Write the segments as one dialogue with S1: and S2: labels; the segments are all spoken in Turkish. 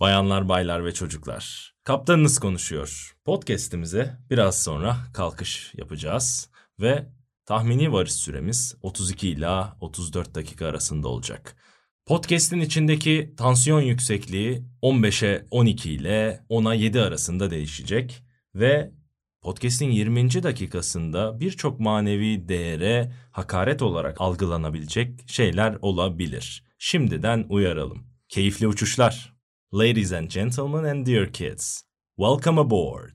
S1: Bayanlar, baylar ve çocuklar. Kaptanınız konuşuyor. Podcast'imize biraz sonra kalkış yapacağız ve tahmini varış süremiz 32 ila 34 dakika arasında olacak. Podcast'in içindeki tansiyon yüksekliği 15'e 12 ile 10'a 7 arasında değişecek ve podcast'in 20. dakikasında birçok manevi değere hakaret olarak algılanabilecek şeyler olabilir. Şimdiden uyaralım. Keyifli uçuşlar. Ladies and gentlemen and dear kids, welcome aboard.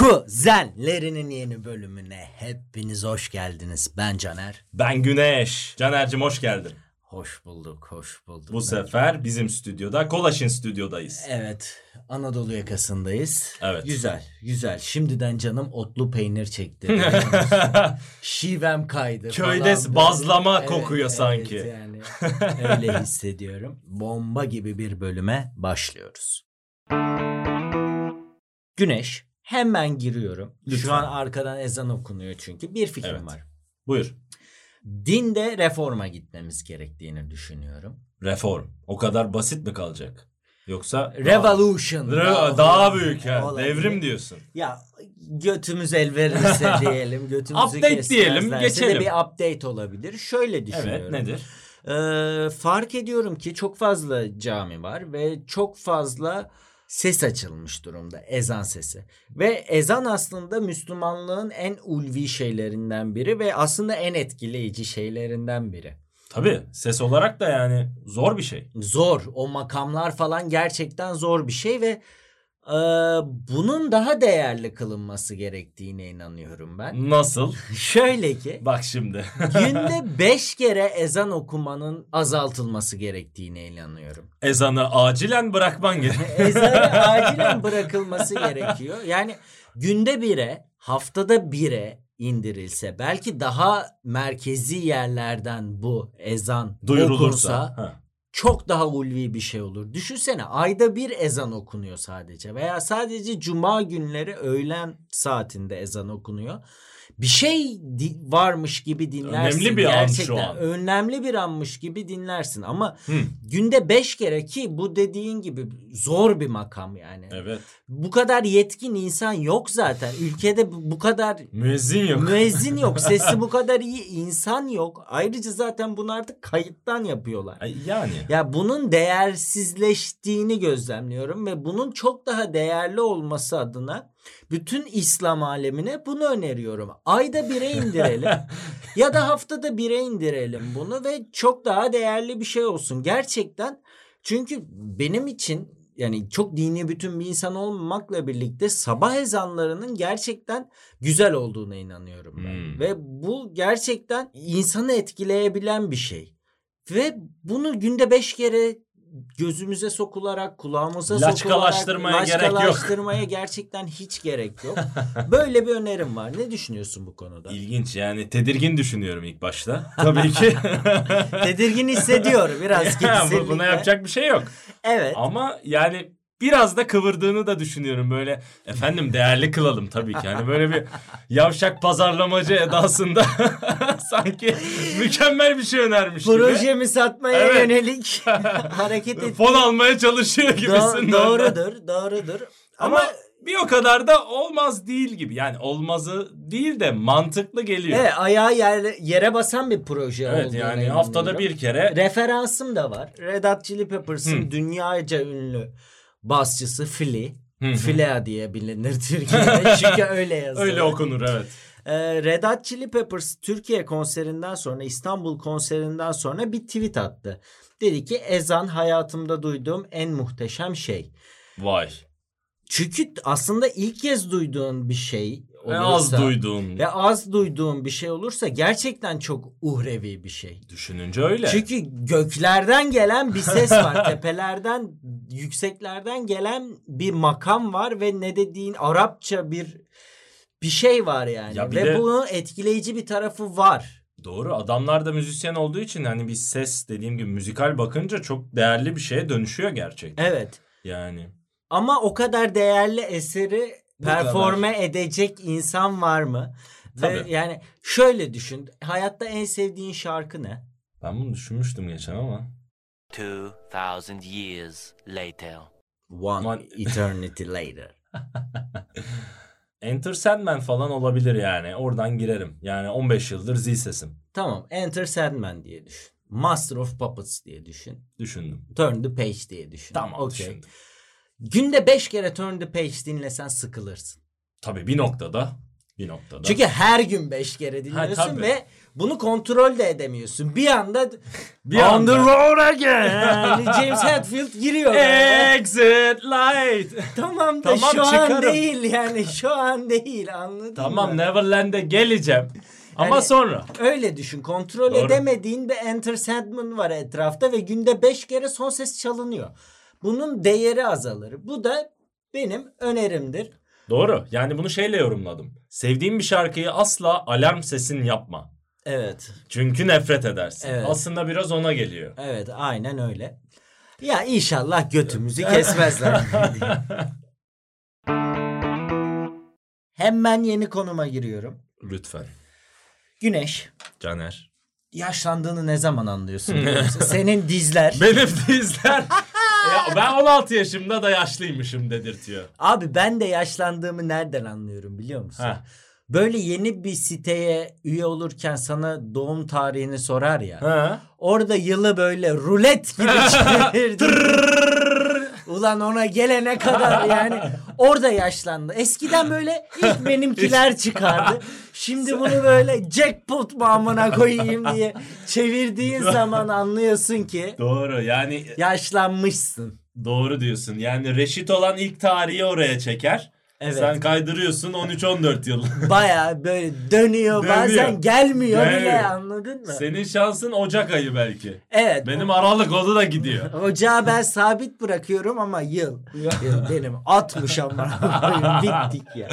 S2: Kuzenlerinin yeni bölümüne hepiniz hoş geldiniz. Ben Caner.
S1: Ben Güneş. Caner'cim hoş geldin.
S2: Hoş bulduk, hoş bulduk.
S1: Bu sefer bizim stüdyoda, Kolaş'ın stüdyodayız.
S2: Evet, Anadolu yakasındayız.
S1: Evet.
S2: Güzel, güzel. Şimdiden canım otlu peynir çekti. Şivem kaydı.
S1: Köyde
S2: falan.
S1: bazlama
S2: Evet,
S1: kokuyor
S2: evet,
S1: sanki.
S2: yani. Öyle hissediyorum. Bomba gibi bir bölüme başlıyoruz. Güneş, hemen giriyorum.
S1: Lütfen.
S2: Şu an arkadan ezan okunuyor çünkü. Bir fikrim
S1: Evet.
S2: var.
S1: Buyur.
S2: Dinde reforma gitmemiz gerektiğini düşünüyorum.
S1: Reform. O kadar basit mi kalacak? Yoksa...
S2: Revolution.
S1: Re- daha, büyük ha.
S2: olabilir.
S1: Devrim diyorsun.
S2: Ya götümüz el verirse diyelim. Götümüzü
S1: Update
S2: kesmezlerse
S1: diyelim,
S2: de
S1: geçelim.
S2: bir update olabilir. Şöyle düşünüyorum.
S1: Evet nedir?
S2: Ee, fark ediyorum ki çok fazla cami var ve çok fazla ses açılmış durumda ezan sesi. Ve ezan aslında Müslümanlığın en ulvi şeylerinden biri ve aslında en etkileyici şeylerinden biri.
S1: Tabii ses olarak da yani zor bir şey.
S2: zor. O makamlar falan gerçekten zor bir şey ve e, bunun daha değerli kılınması gerektiğine inanıyorum ben.
S1: Nasıl?
S2: Şöyle ki
S1: Bak şimdi.
S2: günde beş kere ezan okumanın azaltılması gerektiğine inanıyorum.
S1: Ezanı acilen bırakman gerek.
S2: Ezanı acilen bırakılması gerekiyor. Yani günde bire, haftada bire indirilse belki daha merkezi yerlerden bu ezan
S1: Duyurulursa.
S2: okunsa
S1: Ha.
S2: çok daha ulvi bir şey olur. Düşünsene ayda bir ezan okunuyor sadece veya sadece cuma günleri öğlen saatinde ezan okunuyor. Bir şey di- varmış gibi dinlersin.
S1: Önemli bir an şu
S2: Gerçekten
S1: an.
S2: Önemli bir anmış gibi dinlersin ama
S1: Hı.
S2: günde beş kere ki bu dediğin gibi zor bir makam yani.
S1: Evet.
S2: Bu kadar yetkin insan yok zaten. Ülkede bu bu kadar
S1: Müezzin yok.
S2: müezzin yok. Sesi bu kadar iyi insan yok. Ayrıca zaten bunu artık kayıttan yapıyorlar.
S1: Ay, Yani.
S2: Ya bunun değersizleştiğini gözlemliyorum ve bunun çok daha değerli olması adına bütün İslam alemine bunu öneriyorum. Ayda bire indirelim ya da haftada bire indirelim bunu ve çok daha değerli bir şey olsun. Gerçekten çünkü benim için yani çok dini bütün bir insan olmamakla birlikte sabah ezanlarının gerçekten güzel olduğuna inanıyorum ben.
S1: Hmm.
S2: Ve bu gerçekten insanı etkileyebilen bir şey. Ve bunu günde beş kere gözümüze sokularak, kulağımıza
S1: Laçkalaştırmaya
S2: sokularak
S1: gerek yok.
S2: laçkalaştırmaya gerçekten hiç gerek yok. Böyle bir önerim var. Ne düşünüyorsun bu konuda?
S1: İlginç yani tedirgin düşünüyorum ilk başta. Tabii ki.
S2: Tedirgin hissediyor biraz kesinlikle.
S1: Bu- Buna yapacak bir şey yok.
S2: Evet.
S1: Ama yani biraz da kıvırdığını da düşünüyorum böyle efendim değerli kılalım tabii ki. Hani böyle bir yavşak pazarlamacı edasında sanki mükemmel bir şey önermiş gibi.
S2: Projemi satmaya
S1: Evet.
S2: yönelik hareket ettiği
S1: Fon almaya çalışıyor
S2: Do-
S1: gibisin.
S2: doğrudur, doğrudur.
S1: Ama,
S2: Ama,
S1: bir o kadar da olmaz değil gibi. Yani olmazı değil de mantıklı geliyor.
S2: evet, e, ayağı yer- yere basan bir proje
S1: Evet,
S2: olduğuna
S1: yani
S2: inanıyorum.
S1: haftada bir kere
S2: referansım da var. Red Hot Chili Peppers'ın
S1: Hı.
S2: dünyaca ünlü basçısı Flea.
S1: Hı hı.
S2: Flea diye bilinir Türkiye'de çünkü öyle yazılır.
S1: öyle okunur evet.
S2: Ee, Red Hot Chili Peppers Türkiye konserinden sonra İstanbul konserinden sonra bir tweet attı. Dedi ki ezan hayatımda duyduğum en muhteşem şey.
S1: Vay.
S2: Çünkü aslında ilk kez duyduğun bir şey
S1: Ve
S2: olursa
S1: az duyduğum.
S2: ve az duyduğun bir şey olursa gerçekten çok uhrevi bir şey.
S1: Düşününce öyle.
S2: Çünkü göklerden gelen bir ses var. Tepelerden, yükseklerden gelen bir makam var ve ne dediğin Arapça bir bir şey var yani.
S1: Ya bir
S2: ve
S1: de-
S2: bunun etkileyici bir tarafı var.
S1: Doğru. Adamlar da müzisyen olduğu için hani bir ses dediğim gibi müzikal bakınca çok değerli bir şeye dönüşüyor gerçekten.
S2: Evet.
S1: Yani
S2: Ama o kadar değerli eseri
S1: Bu
S2: performe edecek insan var mı? Ve
S1: Tabii.
S2: yani şöyle düşün. Hayatta en sevdiğin şarkı ne?
S1: Ben bunu düşünmüştüm geçen ama.
S3: 2,000 years later.
S2: One
S1: One-
S2: eternity later.
S1: Enter Sandman falan olabilir yani. Oradan girerim. Yani 15 yıldır zil sesim.
S2: Tamam Enter Sandman diye düşün. Master of Puppets diye düşün.
S1: Düşündüm.
S2: Turn the Page diye düşün.
S1: Tamam
S2: Okey.
S1: düşündüm.
S2: Günde 5 kere Turn the Page dinlesen sıkılırsın.
S1: Tabii bir noktada. Bir noktada.
S2: Çünkü her gün 5 kere dinliyorsun
S1: tabii.
S2: ve bunu kontrol de edemiyorsun. Bir anda
S1: bir anda-
S2: road again James Hetfield giriyor. böyle.
S1: Exit light.
S2: tamam da
S1: Tamam,
S2: şu an
S1: çıkarım.
S2: değil yani şu an değil anladın mı?
S1: tamam Neverland'e geleceğim. Ama
S2: Yani-
S1: sonra.
S2: Öyle düşün. Kontrol
S1: Doğru.
S2: edemediğin bir Enter Sandman var etrafta ve günde 5 kere son ses çalınıyor. Bunun değeri azalır. Bu da benim önerimdir.
S1: Doğru. Yani bunu şeyle yorumladım. Sevdiğim bir şarkıyı asla alarm sesini yapma.
S2: Evet.
S1: Çünkü nefret edersin.
S2: Evet.
S1: Aslında biraz ona geliyor.
S2: Evet aynen öyle. Ya inşallah götümüzü kesmezler. Hemen yeni konuma giriyorum.
S1: Lütfen.
S2: Güneş.
S1: Caner.
S2: Yaşlandığını ne zaman anlıyorsun? biliyor musun? Senin dizler.
S1: Benim dizler. ya ben 16 yaşımda da yaşlıymışım dedirtiyor.
S2: Abi ben de yaşlandığımı nereden anlıyorum biliyor musun?
S1: Ha.
S2: Böyle yeni bir siteye üye olurken sana doğum tarihini sorar ya.
S1: Ha.
S2: Orada yılı böyle rulet gibi çevirdi. Ulan ona gelene kadar yani orada yaşlandı. Eskiden böyle ilk benimkiler çıkardı. Şimdi bunu böyle jackpot mu amına koyayım diye çevirdiğin zaman anlıyorsun ki
S1: Doğru yani
S2: yaşlanmışsın.
S1: doğru diyorsun. Yani reşit olan ilk tarihi oraya çeker.
S2: Evet.
S1: Sen kaydırıyorsun 13-14 yıl.
S2: Baya böyle dönüyor,
S1: Dönüyor.
S2: bazen gelmiyor bile
S1: Gelmiyor.
S2: anladın mı?
S1: Senin şansın Ocak ayı belki.
S2: Evet.
S1: Benim Aralık oldu da gidiyor.
S2: Ocağı ben sabit bırakıyorum ama yıl. yıl benim 60 amına koyayım. bittik ya.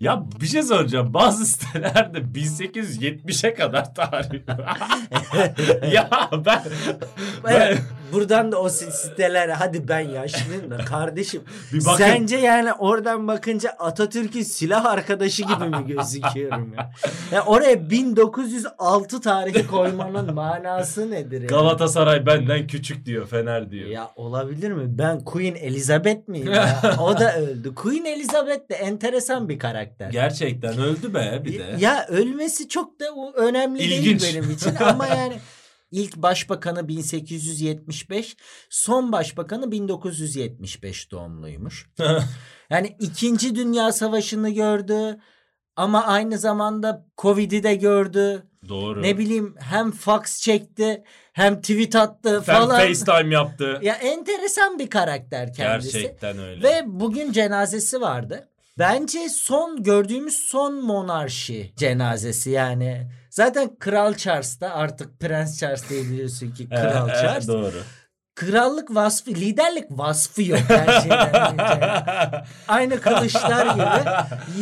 S1: Ya bir şey soracağım. Bazı sitelerde 1870'e kadar tarih. var. ya ben, ben
S2: Evet, buradan da o sitelere hadi ben yaşlıyım da kardeşim.
S1: Bir bakın.
S2: Sence yani oradan bakınca Atatürk'ün silah arkadaşı gibi mi gözüküyorum ya? Ya oraya 1906 tarihi koymanın manası nedir ya?
S1: Galatasaray benden küçük diyor, Fener diyor.
S2: Ya olabilir mi? Ben Queen Elizabeth miyim ya? O da öldü. Queen Elizabeth de enteresan bir karakter.
S1: Gerçekten öldü be bir de.
S2: Ya ölmesi çok da o- önemli
S1: İlginç.
S2: değil benim için ama yani ilk başbakanı 1875, son başbakanı 1975 doğumluymuş. Yani 2. Dünya Savaşı'nı gördü ama aynı zamanda Covid'i de gördü.
S1: Doğru.
S2: Ne bileyim hem fax çekti hem tweet attı
S1: Sen
S2: falan.
S1: FaceTime yaptı.
S2: Ya enteresan bir karakter kendisi.
S1: Gerçekten öyle.
S2: Ve bugün cenazesi vardı. Bence son gördüğümüz son monarşi cenazesi yani. Zaten Kral Charles'ta artık Prens Charles diye biliyorsun ki
S1: Evet,
S2: Kral
S1: evet,
S2: Charles.
S1: Doğru.
S2: Krallık vasfı, liderlik vasfı yok her şeyden önce. Aynı kılıçlar gibi.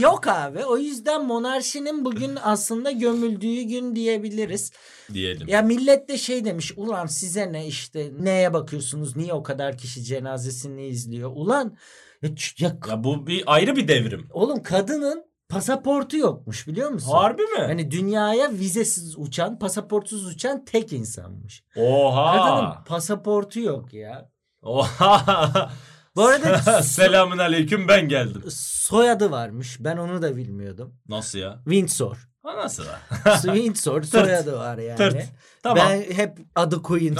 S2: Yok abi. O yüzden monarşinin bugün aslında gömüldüğü gün diyebiliriz.
S1: Diyelim.
S2: Ya millet de şey demiş ulan size ne işte neye bakıyorsunuz niye o kadar kişi cenazesini izliyor ulan ya, ç- ya k-
S1: Ya bu bir ayrı bir devrim.
S2: oğlum kadının pasaportu yokmuş biliyor musun?
S1: Harbi mi?
S2: Hani dünyaya vizesiz uçan pasaportsuz uçan tek insanmış. Kadının
S1: Oha.
S2: pasaportu yok ya.
S1: Oha.
S2: Bu arada so-
S1: Selamün aleyküm ben geldim.
S2: soyadı varmış ben onu da bilmiyordum.
S1: Nasıl ya?
S2: Windsor.
S1: Ha nasıl lan?
S2: Windsor soyadı var yani.
S1: Tırt. Tamam.
S2: Ben hep adı Queen.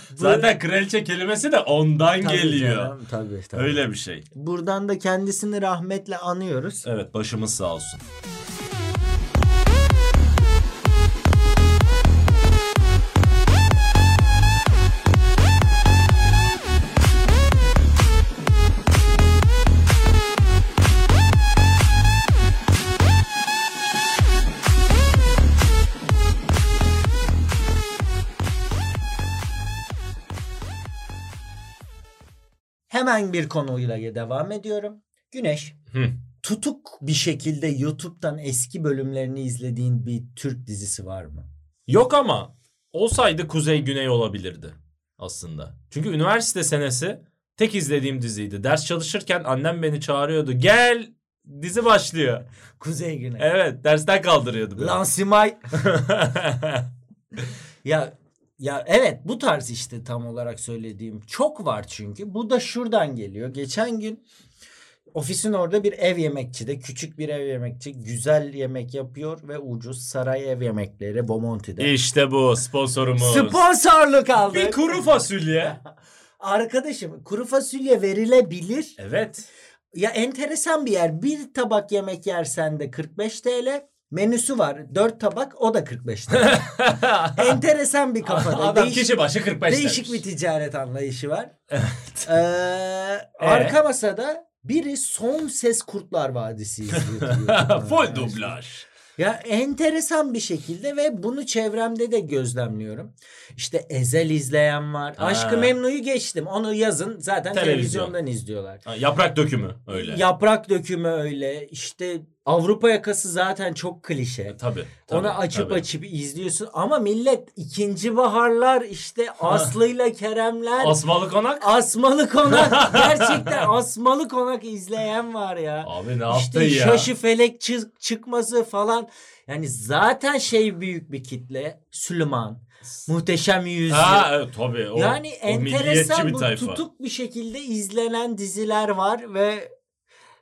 S1: Zaten kraliçe kelimesi de ondan
S2: Tabii
S1: geliyor.
S2: canım, tabii, tabii.
S1: Öyle bir şey.
S2: Buradan da kendisini rahmetle anıyoruz.
S1: Evet başımız sağ olsun.
S2: Hemen bir konuyla devam ediyorum. Güneş.
S1: Hı.
S2: Tutuk bir şekilde YouTube'dan eski bölümlerini izlediğin bir Türk dizisi var mı?
S1: Yok ama olsaydı kuzey güney olabilirdi aslında. Çünkü üniversite senesi tek izlediğim diziydi. Ders çalışırken annem beni çağırıyordu. Gel dizi başlıyor.
S2: Kuzey Güney.
S1: Evet dersten kaldırıyordu beni.
S2: Lansimay. Ya ya evet bu tarz işte tam olarak söylediğim çok var çünkü. Bu da şuradan geliyor. Geçen gün ofisin orada bir ev yemekçide küçük bir ev yemekçi güzel yemek yapıyor ve ucuz saray ev yemekleri Bomonti'de.
S1: İşte bu sponsorumuz.
S2: Sponsorluk aldık.
S1: Bir kuru fasulye.
S2: Arkadaşım kuru fasulye verilebilir.
S1: Evet.
S2: Ya enteresan bir yer. Bir tabak yemek yersen de 45 TL. Menüsü var. 4 tabak o da 45 TL. enteresan bir kafada.
S1: Adam
S2: Değişik-
S1: kişi başı 45
S2: Değişik
S1: demiş.
S2: bir ticaret anlayışı var. Ee,
S1: Ee?
S2: arka masada biri son ses Kurtlar Vadisi izliyor.
S1: Full dublaj.
S2: Ya enteresan bir şekilde ve bunu çevremde de gözlemliyorum. İşte Ezel izleyen var.
S1: Ha.
S2: Aşkı Memnu'yu geçtim. Onu yazın zaten
S1: Televizyon.
S2: televizyondan izliyorlar.
S1: Ha, Yaprak dökümü öyle.
S2: Yaprak dökümü öyle. İşte Avrupa yakası zaten çok klişe.
S1: E, Tabii. tabii,
S2: Ona açıp
S1: tabii.
S2: açıp izliyorsun ama millet ikinci baharlar işte Aslı'yla Kerem'ler
S1: Asmalı konak.
S2: Asmalı Konak gerçekten Asmalı Konak izleyen var ya.
S1: Abi ne
S2: İşte
S1: yaptın ya?
S2: şaşı felek çı- çıkması falan. Yani zaten şey büyük bir kitle. Süleyman, Muhteşem Yüzyıl.
S1: Ha evet, tabii. O,
S2: yani
S1: o milliyetçi
S2: enteresan
S1: bir
S2: bu
S1: tayfa.
S2: tutuk bir şekilde izlenen diziler var ve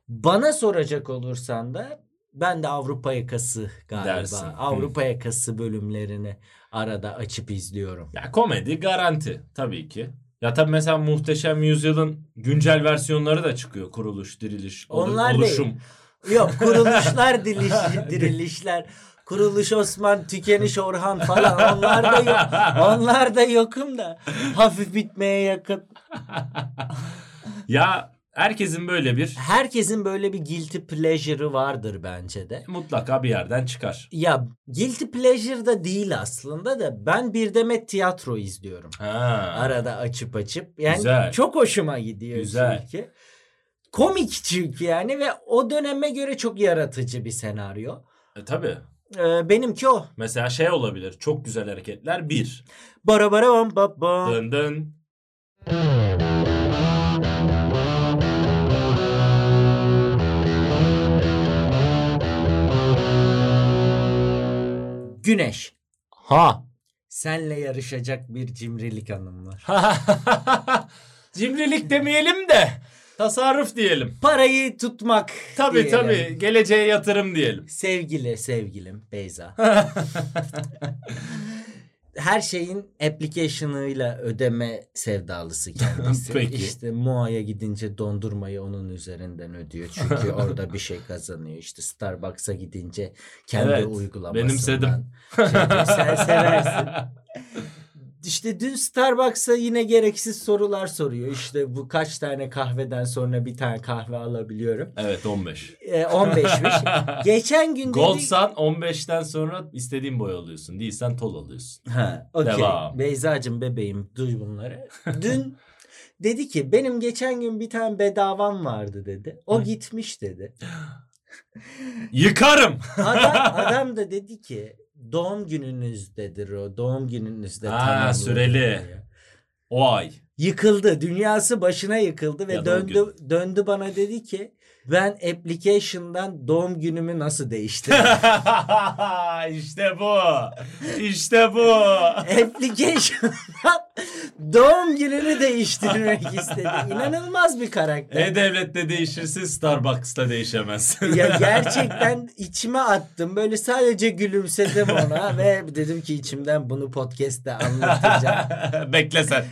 S2: bana soracak olursan da ben de Avrupa yakası galiba.
S1: Dersin.
S2: Avrupa yakası bölümlerini arada açıp izliyorum.
S1: Ya komedi garanti tabii ki. Ya tabii mesela Muhteşem Yüzyıl'ın güncel versiyonları da çıkıyor. Kuruluş, diriliş, olu-
S2: Onlar değil.
S1: oluşum.
S2: Yok kuruluşlar diliş, dirilişler. Kuruluş Osman, tükeniş Orhan falan onlar da yok. Onlar da yokum da hafif bitmeye yakın.
S1: Ya herkesin böyle bir
S2: Herkesin böyle bir guilty pleasure'ı vardır bence de.
S1: mutlaka bir yerden çıkar.
S2: Ya guilty pleasure da değil aslında da ben bir demet tiyatro izliyorum.
S1: Ha.
S2: Arada açıp açıp. Yani
S1: Güzel.
S2: çok hoşuma gidiyor
S1: Güzel.
S2: çünkü. Komik çünkü yani ve o döneme göre çok yaratıcı bir senaryo.
S1: E, tabii.
S2: Ee, benimki o.
S1: Mesela şey olabilir. Çok güzel hareketler bir.
S2: Bara bara bam bam bam.
S1: Dın dın.
S2: Güneş. Ha. Senle yarışacak bir cimrilik hanım var.
S1: Cimrilik demeyelim de tasarruf diyelim.
S2: Parayı tutmak.
S1: Tabii
S2: diyelim.
S1: tabii. Geleceğe yatırım diyelim.
S2: Sevgili sevgilim Beyza. Her şeyin application'ıyla ödeme sevdalısı kendisi.
S1: Peki.
S2: İşte Moa'ya gidince dondurmayı onun üzerinden ödüyor. Çünkü orada bir şey kazanıyor. İşte Starbucks'a gidince kendi
S1: Evet,
S2: uygulamasından.
S1: benimsedim.
S2: şey diyor, sen seversin. İşte dün Starbucks'a yine gereksiz sorular soruyor. İşte bu kaç tane kahveden sonra bir tane kahve alabiliyorum.
S1: Evet 15.
S2: Ee, 15'miş. Geçen gün dedi...
S1: Goldsan 15'ten sonra istediğin boy alıyorsun. Değilsen tol alıyorsun.
S2: Ha, okey.
S1: Devam.
S2: Beyzacığım bebeğim duy bunları. Dün dedi ki benim geçen gün bir tane bedavam vardı dedi. O gitmiş dedi.
S1: Yıkarım.
S2: Adam, adam da dedi ki doğum gününüzdedir o. Doğum gününüzde
S1: Ha,
S2: tamamlanır
S1: süreli.
S2: diyor.
S1: O ay.
S2: Yıkıldı. Dünyası başına yıkıldı ve
S1: Ya da o
S2: döndü döndü bana dedi ki ben application'dan doğum günümü nasıl değiştirdim?
S1: işte bu. İşte bu.
S2: application'dan doğum gününü değiştirmek istedi. İnanılmaz bir karakter.
S1: E-Devlet'te değişirsin Starbucks'ta değişemezsin.
S2: Ya gerçekten içime attım. Böyle sadece gülümsedim ona ve dedim ki içimden bunu podcast'te anlatacağım.
S1: Bekle sen.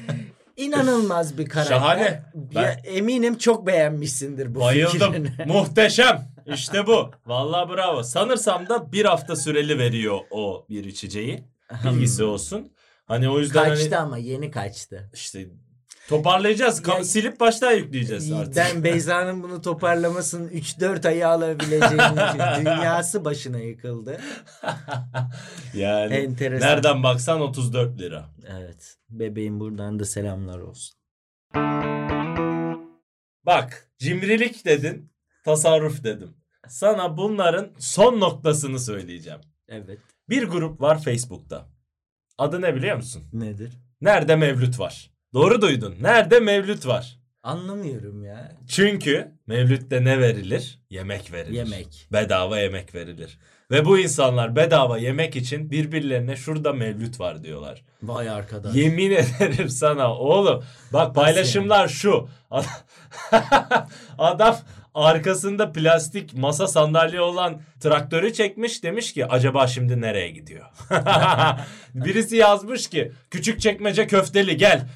S2: İnanılmaz bir karakter.
S1: Şahane. Ben-
S2: Ya eminim çok beğenmişsindir bu
S1: Bayıldım.
S2: fikrini.
S1: Muhteşem. İşte bu. Vallahi bravo. Sanırsam da bir hafta süreli veriyor o bir içeceği.
S2: Hmm.
S1: Bilgisi olsun. Hani o yüzden hani
S2: Kaçtı ama yeni kaçtı.
S1: işte toparlayacağız. Ka-
S2: Ya-
S1: silip baştan yükleyeceğiz artık.
S2: Ben Beyza'nın bunu toparlamasının 3-4 ayı alabileceğini dünyası başına yıkıldı.
S1: yani
S2: Enteresan.
S1: nereden baksan 34 lira.
S2: Evet. Bebeğim buradan da selamlar olsun.
S1: Bak cimrilik dedin, tasarruf dedim. Sana bunların son noktasını söyleyeceğim.
S2: Evet.
S1: Bir grup var Facebook'ta. Adı ne biliyor musun?
S2: Nedir?
S1: Nerede Mevlüt var? Doğru duydun. Nerede Mevlüt var?
S2: Anlamıyorum ya.
S1: Çünkü Mevlüt'te ne verilir? Yemek verilir.
S2: Yemek.
S1: Bedava yemek verilir. Ve bu insanlar bedava yemek için birbirlerine şurada mevlüt var diyorlar.
S2: Vay arkadaş.
S1: Yemin ederim sana oğlum. Bak paylaşımlar şu. Adam arkasında plastik masa sandalye olan traktörü çekmiş demiş ki acaba şimdi nereye gidiyor? Birisi yazmış ki küçük çekmece köfteli gel.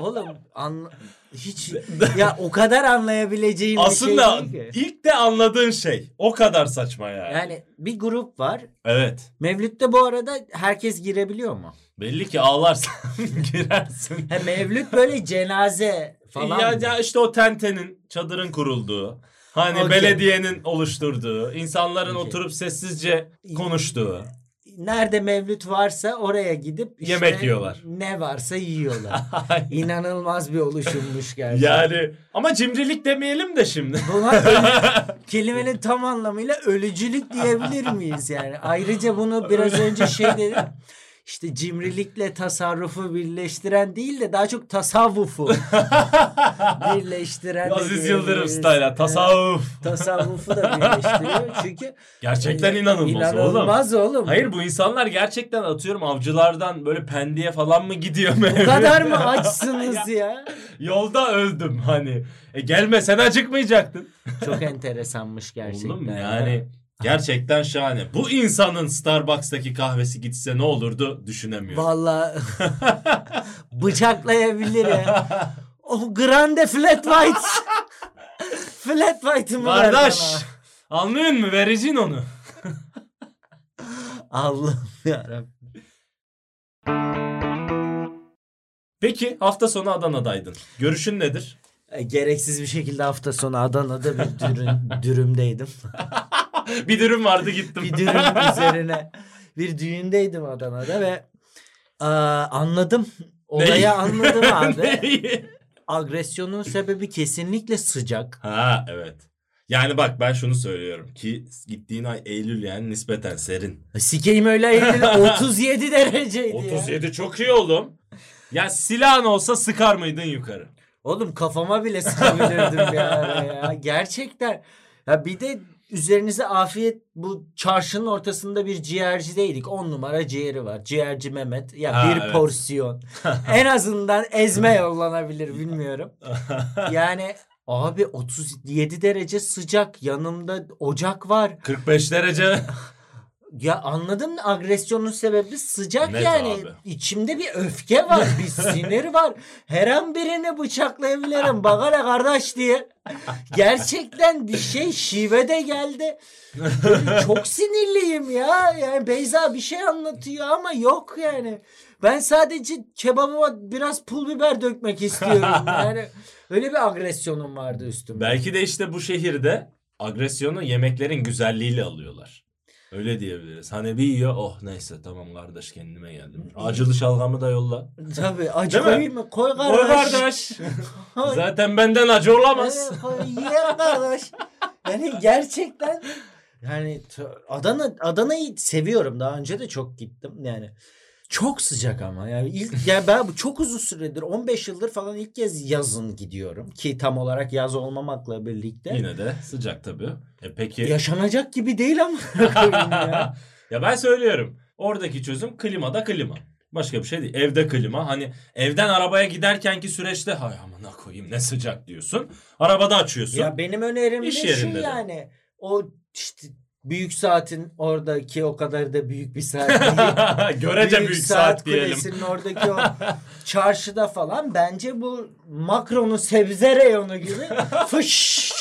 S2: Oğlum anla- hiç ya o kadar anlayabileceğim
S1: Aslında
S2: bir şey değil ki.
S1: ilk de anladığın şey o kadar saçma yani.
S2: Yani bir grup var.
S1: Evet.
S2: Mevlüt'te bu arada herkes girebiliyor mu?
S1: Belli ki ağlarsan girersin.
S2: He Mevlüt böyle cenaze falan.
S1: Ya,
S2: mı?
S1: ya işte o tentenin, çadırın kurulduğu, hani
S2: Okey.
S1: belediyenin oluşturduğu, insanların
S2: Okey.
S1: oturup sessizce konuştuğu.
S2: Nerede Mevlüt varsa oraya gidip işte
S1: Yemek yiyorlar.
S2: Ne varsa yiyorlar.
S1: Ay,
S2: İnanılmaz bir oluşummuş gerçekten.
S1: yani ama cimrilik demeyelim de şimdi.
S2: Buna ölü- kelimenin tam anlamıyla ölücülük diyebilir miyiz yani? Ayrıca bunu biraz önce şey dedim. İşte cimrilikle tasarrufu birleştiren değil de daha çok tasavvufu birleştiren. de
S1: Aziz Yıldırım
S2: diyebiliriz.
S1: style'a tasavvuf.
S2: Evet, tasavvufu da birleştiriyor çünkü e,
S1: Gerçekten inanılmaz, oğlum.
S2: inanılmaz oğlum.
S1: Hayır bu insanlar gerçekten atıyorum avcılardan böyle pendiye falan mı gidiyor
S2: Bu
S1: mevlüt?
S2: kadar mı açsınız ya?
S1: Yolda öldüm hani. E gelme sen acıkmayacaktın.
S2: Çok enteresanmış gerçekten.
S1: Oğlum yani gerçekten şahane. Bu insanın Starbucks'taki kahvesi gitse ne olurdu düşünemiyorum.
S2: Vallahi bıçaklayabilir ya. O Oh, grande flat white. flat white'ımı ver
S1: Kardeş
S2: bana.
S1: anlıyor musun vericin onu.
S2: Allah'ım yarabbim.
S1: Peki hafta sonu Adana'daydın. Görüşün nedir?
S2: E, Gereksiz bir şekilde hafta sonu Adana'da bir dürüm, dürümdeydim.
S1: Bir dürüm vardı gittim.
S2: bir dürüm üzerine bir düğündeydim Adana'da ve aa, anladım.
S1: Neyi?
S2: Olayı anladım abi.
S1: Neyi?
S2: Agresyonun sebebi kesinlikle sıcak.
S1: ha evet. Yani bak ben şunu söylüyorum ki gittiğin ay Eylül yani nispeten serin.
S2: Sikeyim öyle Eylül 37 dereceydi ya.
S1: 37 çok iyi oğlum. Ya silahın olsa sıkar mıydın yukarı?
S2: Oğlum kafama bile sıkabilirdim ya, ya. Gerçekten. Ya bir de üzerinize afiyet bu çarşının ortasında bir ciğercideydik. 10 numara ciğeri var. Ciğerci Mehmet. Ya
S1: Ha,
S2: bir
S1: evet.
S2: porsiyon. en azından ezme yollanabilir bilmiyorum. Yani abi 37 derece sıcak. Yanımda ocak var.
S1: 45 derece.
S2: Ya anladım agresyonun sebebi sıcak
S1: Net
S2: yani.
S1: abi.
S2: İçimde bir öfke var, bir sinir var. Her an birini bıçaklayabilirim. Bakana kardeş diye. Gerçekten bir şey şive de geldi. Böyle çok sinirliyim ya. Yani Beyza bir şey anlatıyor ama yok yani. Ben sadece kebabıma biraz pul biber dökmek istiyorum. Yani öyle bir agresyonum vardı üstümde.
S1: Belki de işte bu şehirde agresyonu yemeklerin güzelliğiyle alıyorlar. Öyle diyebiliriz. Hani bir yiyor oh neyse tamam kardeş kendime geldim. Acılı şalgamı da yolla.
S2: Tabii acı
S1: Değil mi?
S2: koyayım mı? Koy kardeş.
S1: Oy kardeş.
S2: Koy.
S1: Zaten benden acı olamaz.
S2: Evet, o Yiyen kardeş. Yani gerçekten yani t- Adana Adana'yı seviyorum. Daha önce de çok gittim. Yani çok sıcak ama yani ilk yani ben bu çok uzun süredir 15 yıldır falan ilk kez yazın gidiyorum ki tam olarak yaz olmamakla birlikte
S1: Yine de sıcak tabii. E peki.
S2: yaşanacak gibi değil ama ya.
S1: ya ben söylüyorum. Oradaki çözüm klimada klima. Başka bir şey değil. Evde klima. Hani evden arabaya giderkenki süreçte hay amına koyayım ne sıcak diyorsun. Arabada açıyorsun.
S2: ya benim önerim de
S1: İş
S2: şey
S1: yerinde de.
S2: yani o işte büyük saatin oradaki o kadar da büyük bir saat değil.
S1: Görece büyük, saat, diyelim.
S2: Kulesi'nin oradaki o çarşıda falan bence bu Macron'un sebze reyonu gibi fış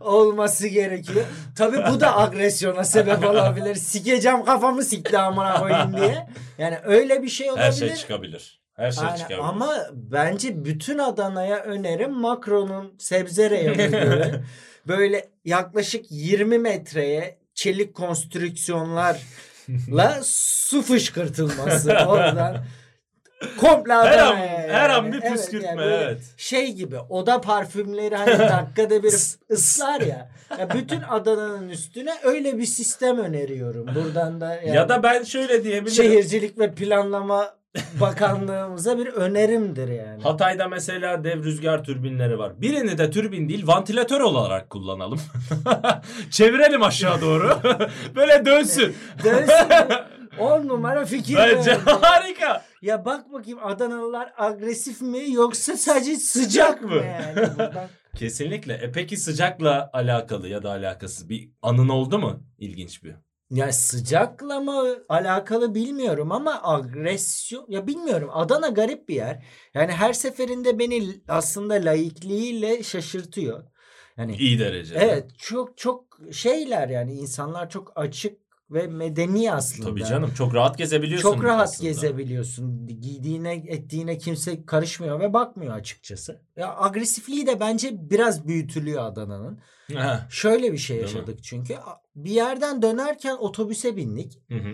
S2: olması gerekiyor. Tabii bu da agresyona sebep olabilir. Sikeceğim kafamı sikti amına koyayım diye. Yani öyle bir şey olabilir.
S1: Her şey çıkabilir. Her şey
S2: Aynen.
S1: çıkabilir.
S2: Ama bence bütün Adana'ya önerim Macron'un sebze reyonu gibi. böyle yaklaşık 20 metreye çelik konstrüksiyonlarla su fışkırtılması oradan. Komple
S1: Her
S2: Adana'ya.
S1: an,
S2: yani.
S1: her an bir
S2: Evet,
S1: püskürtme
S2: yani böyle
S1: evet.
S2: Şey gibi oda parfümleri hani dakikada bir ıslar ya. ya. Bütün Adana'nın üstüne öyle bir sistem öneriyorum. Buradan da yani
S1: Ya da ben şöyle diyebilirim.
S2: şehircilik ve planlama bakanlığımıza bir önerimdir yani.
S1: Hatay'da mesela dev rüzgar türbinleri var. Birini de türbin değil vantilatör olarak kullanalım. Çevirelim aşağı doğru. Böyle dönsün.
S2: Dönsün. On numara fikir.
S1: Bence
S2: verdi.
S1: harika.
S2: Ya bak bakayım Adanalılar agresif mi yoksa sadece sıcak mı
S1: mı?
S2: yani? Buradan-
S1: Kesinlikle. E peki sıcakla alakalı ya da alakasız bir anın oldu mu? İlginç bir.
S2: Ya sıcakla mı alakalı bilmiyorum ama agresyon ya bilmiyorum Adana garip bir yer. Yani her seferinde beni aslında laikliğiyle şaşırtıyor. Yani
S1: İyi derecede.
S2: evet çok çok şeyler yani insanlar çok açık ve medeni aslında.
S1: Tabii canım çok rahat gezebiliyorsun.
S2: Çok rahat
S1: aslında.
S2: gezebiliyorsun. Giydiğine, ettiğine kimse karışmıyor ve bakmıyor açıkçası. Ya agresifliği de bence biraz büyütülüyor Adana'nın.
S1: Heh.
S2: Şöyle bir şey
S1: Değil mi?
S2: yaşadık çünkü. A- Bir yerden dönerken otobüse bindik.
S1: Hı hı.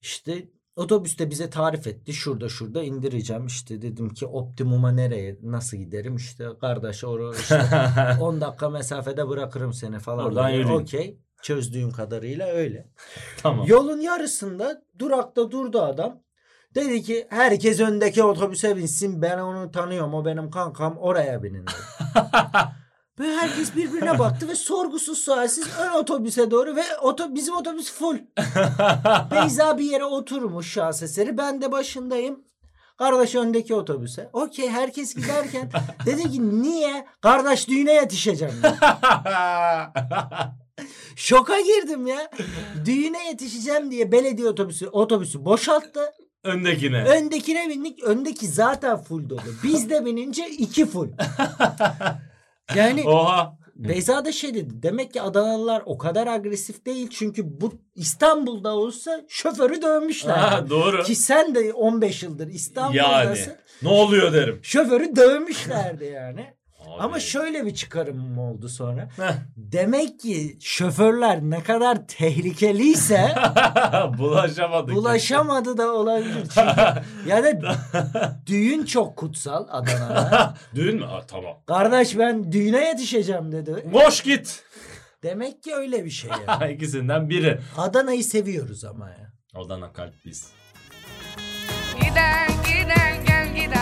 S2: İşte otobüste bize tarif etti. Şurada şurada indireceğim. İşte dedim ki optimuma nereye nasıl giderim? İşte kardeş oraya işte 10 dakika mesafede bırakırım seni falan.
S1: Oradan
S2: dedi.
S1: yürüyün.
S2: Okey. Çözdüğüm kadarıyla öyle.
S1: tamam.
S2: Yolun yarısında durakta durdu adam. Dedi ki herkes öndeki otobüse binsin. Ben onu tanıyorum. O benim kankam. Oraya binin. dedi. Böyle herkes birbirine baktı ve sorgusuz sualsiz ön otobüse doğru ve oto, bizim otobüs full. Beyza bir yere oturmuş şans eseri. Ben de başındayım. Kardeş öndeki otobüse. Okey herkes giderken dedi ki niye? Kardeş düğüne yetişeceğim. dedi. Şoka girdim ya. Düğüne yetişeceğim diye belediye otobüsü otobüsü boşalttı.
S1: Öndekine.
S2: Öndekine bindik. Öndeki zaten full dolu. Biz de binince iki full. Yani
S1: Oha.
S2: Beyza da şey dedi. Demek ki Adanalılar o kadar agresif değil. Çünkü bu İstanbul'da olsa şoförü dövmüşler.
S1: Ha, doğru.
S2: Ki sen de 15 yıldır İstanbul'dasın.
S1: Yani. Ne oluyor derim.
S2: Şoförü dövmüşlerdi yani. Ama
S1: Abi.
S2: şöyle bir çıkarımım oldu sonra.
S1: Heh.
S2: Demek ki şoförler ne kadar tehlikeliyse
S1: Bulaşamadık.
S2: bulaşamadı da olabilir. Çünkü ya da düğün çok kutsal Adana'da.
S1: Düğün mü? Aa, tamam.
S2: Kardeş ben düğüne yetişeceğim dedi.
S1: Boş git.
S2: Demek ki öyle bir şey yani.
S1: İkisinden biri.
S2: Adana'yı seviyoruz ama ya.
S1: Aldana kalp biz.
S4: Giden giden gel gidek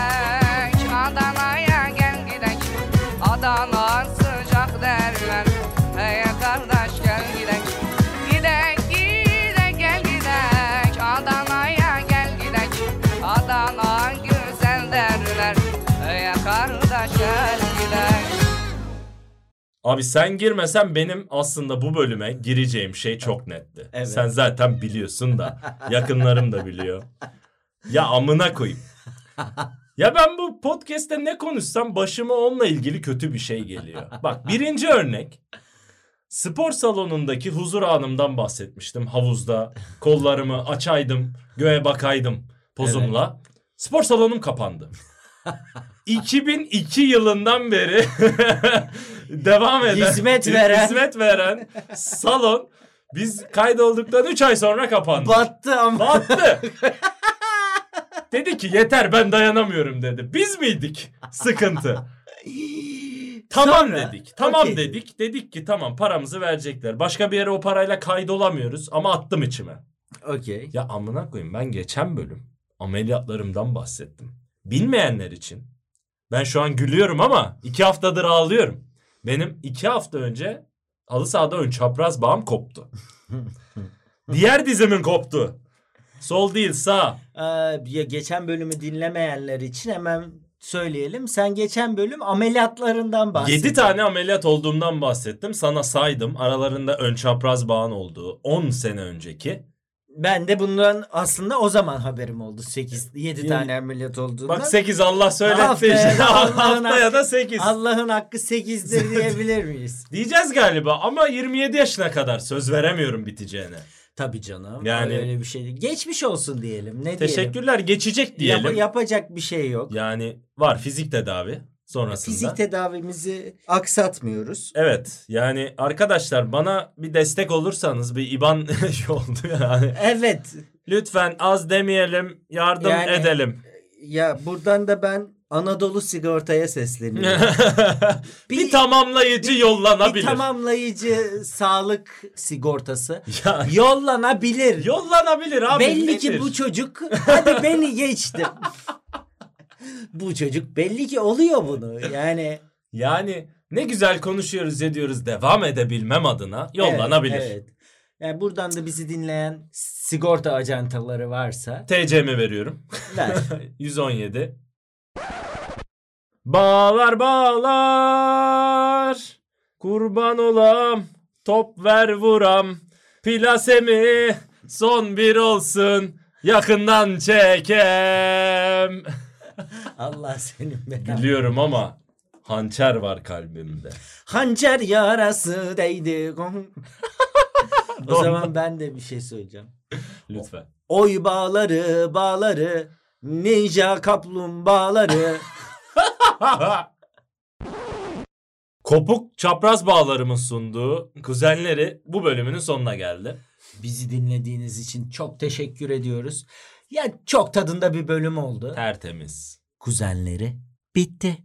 S4: Adana'ya gel gidek Adana sıcak derler Hey kardeş gel gidek Giden giden gel gidek Adana'ya gel gidek Adana güzel derler Hey kardeş gel gidek
S1: Abi sen girmesen benim aslında bu bölüme gireceğim şey çok netti.
S2: Evet.
S1: Sen zaten biliyorsun da yakınlarım da biliyor. Ya amına koyayım. Ya ben bu podcast'te ne konuşsam başıma onunla ilgili kötü bir şey geliyor. Bak birinci örnek. Spor salonundaki huzur anımdan bahsetmiştim havuzda. Kollarımı açaydım, göğe bakaydım pozumla. Spor salonum kapandı. 2002 yılından beri devam eden
S2: Hizmet veren.
S1: hizmet veren salon biz kaydolduktan 3 ay sonra kapandı.
S2: Battı ama.
S1: Battı. dedi ki yeter ben dayanamıyorum dedi. Biz miydik sıkıntı? Tamam
S2: Sonra-
S1: dedik. Tamam
S2: Okey.
S1: dedik. Dedik ki tamam paramızı verecekler. Başka bir yere o parayla kaydolamıyoruz ama attım içime.
S2: Okey.
S1: Ya amına koyayım ben geçen bölüm ameliyatlarımdan bahsettim. Bilmeyenler için ben şu an gülüyorum ama iki haftadır ağlıyorum. Benim iki hafta önce halı sahada ön çapraz bağım koptu. Diğer dizimin koptu. Sol değil sağ.
S2: Ee, ya geçen bölümü dinlemeyenler için hemen söyleyelim. Sen geçen bölüm ameliyatlarından bahsettin.
S1: 7 tane ameliyat olduğumdan bahsettim. Sana saydım. Aralarında ön çapraz bağın olduğu 10 sene önceki.
S2: Ben de bundan aslında o zaman haberim oldu. 8 7
S1: Yedi-
S2: tane ameliyat olduğundan.
S1: Bak 8 Allah söyletti
S2: Aferin,
S1: işte.
S2: Allah'ın
S1: Haftaya da 8.
S2: Allah'ın hakkı 8'dir diyebilir miyiz?
S1: Diyeceğiz galiba ama 27 yaşına kadar söz veremiyorum biteceğine.
S2: Tabii canım.
S1: Yani-
S2: öyle bir şey. değil. Geçmiş olsun diyelim. Ne diyelim?
S1: Teşekkürler geçecek diyelim.
S2: Yap- yapacak bir şey yok.
S1: Yani var fizik tedavi sonrasında.
S2: Fizik tedavimizi aksatmıyoruz.
S1: Evet yani arkadaşlar bana bir destek olursanız bir IBAN şey oldu yani.
S2: Evet.
S1: Lütfen az demeyelim yardım
S2: Yani-
S1: edelim.
S2: Ya buradan da ben Anadolu Sigorta'ya sesleniyorum.
S1: bir, tamamlayıcı yollanabilir.
S2: bir tamamlayıcı sağlık sigortası
S1: Ya,
S2: yollanabilir.
S1: yollanabilir abi.
S2: belli ki
S1: nedir?
S2: bu çocuk hadi beni geçti. bu çocuk belli ki oluyor bunu. Yani
S1: Yani ne güzel konuşuyoruz ediyoruz devam edebilmem adına yollanabilir.
S2: Evet, evet. Yani buradan da bizi dinleyen sigorta ajantaları varsa
S1: TC'mi veriyorum.
S2: ver.
S1: 117. Bağlar bağlar. Kurban olam. Top ver vuram. Plasemi son bir olsun. Yakından çekem.
S2: Allah senin belanı.
S1: Biliyorum ama hançer var kalbimde.
S2: Hançer yarası değdi. o zaman ben de bir şey söyleyeceğim.
S1: Lütfen.
S2: Oy bağları bağları ninja kaplumbağaları.
S1: Kopuk çapraz bağlarımın sunduğu kuzenleri bu bölümünün sonuna geldi.
S2: Bizi dinlediğiniz için çok teşekkür ediyoruz. Ya çok tadında bir bölüm oldu.
S1: Tertemiz.
S2: Kuzenleri bitti.